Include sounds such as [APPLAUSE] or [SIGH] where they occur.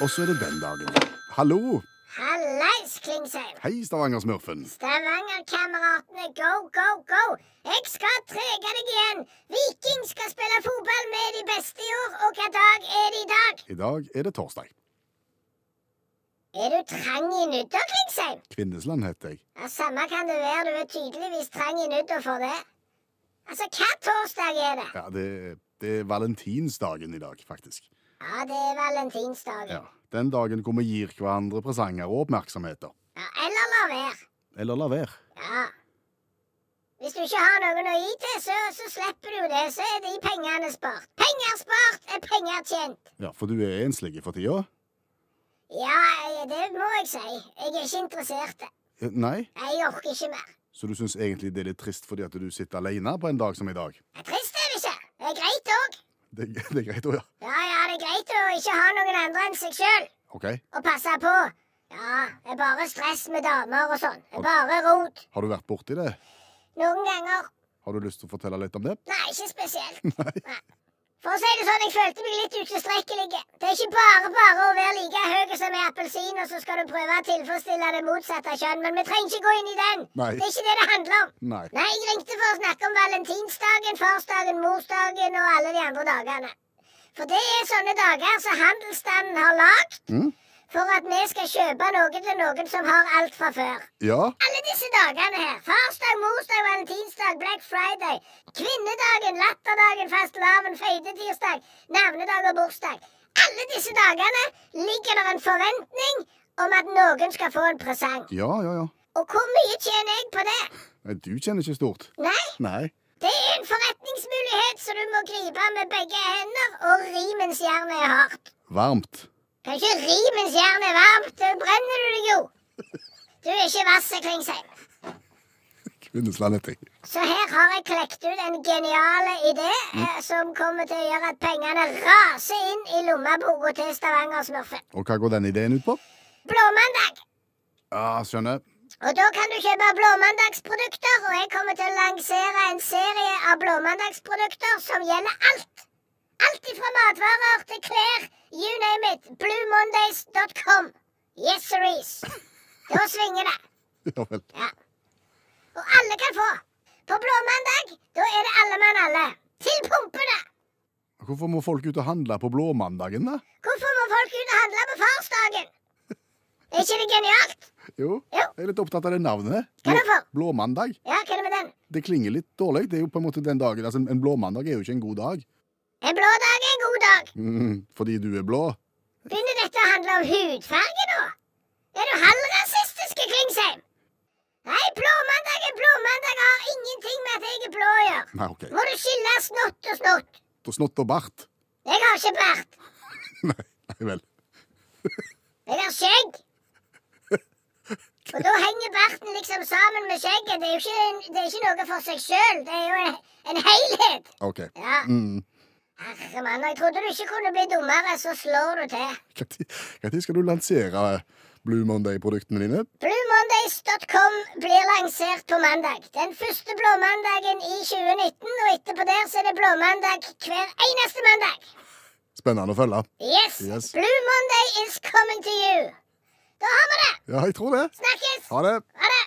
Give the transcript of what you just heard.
Og så er det den dagen. Hallo! Hallais, Klingsheim! Hei, Stavanger-smurfen. Stavanger-kameratene, go, go, go! Jeg skal trege deg igjen! Viking skal spille fotball med de beste i år, og hva dag er det i dag? I dag er det torsdag. Er du trang i nudda, Klingsheim? Kvinnesland heter jeg. Ja, Samme kan det være, du er tydeligvis trang i nudda for det. Altså, hva torsdag er det? Ja, det, det er valentinsdagen i dag, faktisk. Ja, det er valentinsdagen. Ja, Den dagen hvor vi gir hverandre presanger og oppmerksomheter. Ja, eller la være. Eller lar være. Ja. Hvis du ikke har noen å gi til, så, så slipper du det. Så er de pengene spart. Penger spart er penger tjent. Ja, for du er enslig for tida? Ja, jeg- det må jeg si. Jeg er ikke interessert. Eh, Nei? Jeg orker ikke mer. Så du syns egentlig det er litt trist fordi at du sitter alene på en dag som i dag? Det er trist er det ikke. Det er greit òg. Det, det er greit å gjøre. Ja, ja, det er greit å ikke ha noen andre enn seg sjøl. OK. Og passe på. Ja, det er bare stress med damer og sånn. Det er bare rot. Har du vært borti det? Noen ganger. Har du lyst til å fortelle litt om det? [LAUGHS] Nei, ikke spesielt. Nei. Nei. For å si det sånn, jeg følte meg litt utilstrekkelig. Det er ikke bare bare å være like høy som ei appelsin, og så skal du prøve å tilfredsstille det motsatte kjønn. Men vi trenger ikke gå inn i den. Nei. Det er ikke det det handler om. Nei. Nei, jeg ringte for å snakke om valentinsdagen, farsdagen, morsdagen og alle de andre dagene. For det er sånne dager som handelsstanden har lagd Mm? for at vi skal kjøpe noe til noen som har alt fra før. Ja? Alle disse dagene her. Farsdag, morsdag, valentinsdag, black friday. Kvinnedagen, latterdagen, fastelavn, feidetirsdag, navnedag og bursdag. Alle disse dagene ligger der en forventning om at noen skal få en presang. Ja, ja, ja. Og hvor mye tjener jeg på det? Nei, Du kjenner ikke stort. Nei, Nei. det er en forretningsmulighet som du må gripe med begge hender, og rimens jern er hardt. Varmt. Kan ikke rimens jern er varmt, da brenner du deg jo. Du er ikke vasset, Klingsheim. Kvinnesland heter jeg. Så her har jeg klekt ut en genial idé eh, som kommer til å gjøre at pengene raser inn i lommeboka til Stavanger-smurfen. Og hva går den ideen ut på? Blåmandag! Ja, skjønner. Og da kan du kjøpe blåmandagsprodukter, og jeg kommer til å lansere en serie av blåmandagsprodukter som gjelder alt. Alt ifra matvarer til klær. You name it. Bluemondays.com. Yes, siris. Da svinger det. [LAUGHS] Ja vel. Ja. Og alle kan få. På blåmandag, da er det alle mann alle. Til pumpene! Hvorfor må folk ut og handle på blåmandagen, da? Hvorfor må folk ut og handle på farsdagen? Er ikke det genialt? Jo, Ja. jeg er litt opptatt av det navnet. Hva er det for? Blåmandag. Ja, hva er det med den? Det klinger litt dårlig. Det er jo på en måte den dagen, altså En blåmandag er jo ikke en god dag. En blå dag er en god dag. Mm, fordi du er blå. Begynner dette å handle om hudfarge nå? Er du halvrasistiske, Klingsheim? Nei, blåmandag er blåmandag og har ingenting med at jeg er blå å gjøre. Nei, OK. Må du skille snott og snott? Og snott og bart. Jeg har ikke bart. Nei, nei vel. Jeg har skjegg. Og da henger barten liksom sammen med skjegget. Det er jo ikke, en, det er ikke noe for seg sjøl. Det er jo en, en helhet. OK. Ja, Mm. Herre mann, jeg trodde du ikke kunne bli dummere, så slår du til. Når skal du lansere Blue Monday-produktene dine? Bluemondays.com blir lansert på mandag. Den første blåmandagen i 2019, og etterpå der så er det blåmandag hver eneste mandag. Spennende å følge. Yes! Yes. Blue Monday is coming to you. Da har vi det. Ja, jeg tror det. Snakkes. Ha det. Ha det.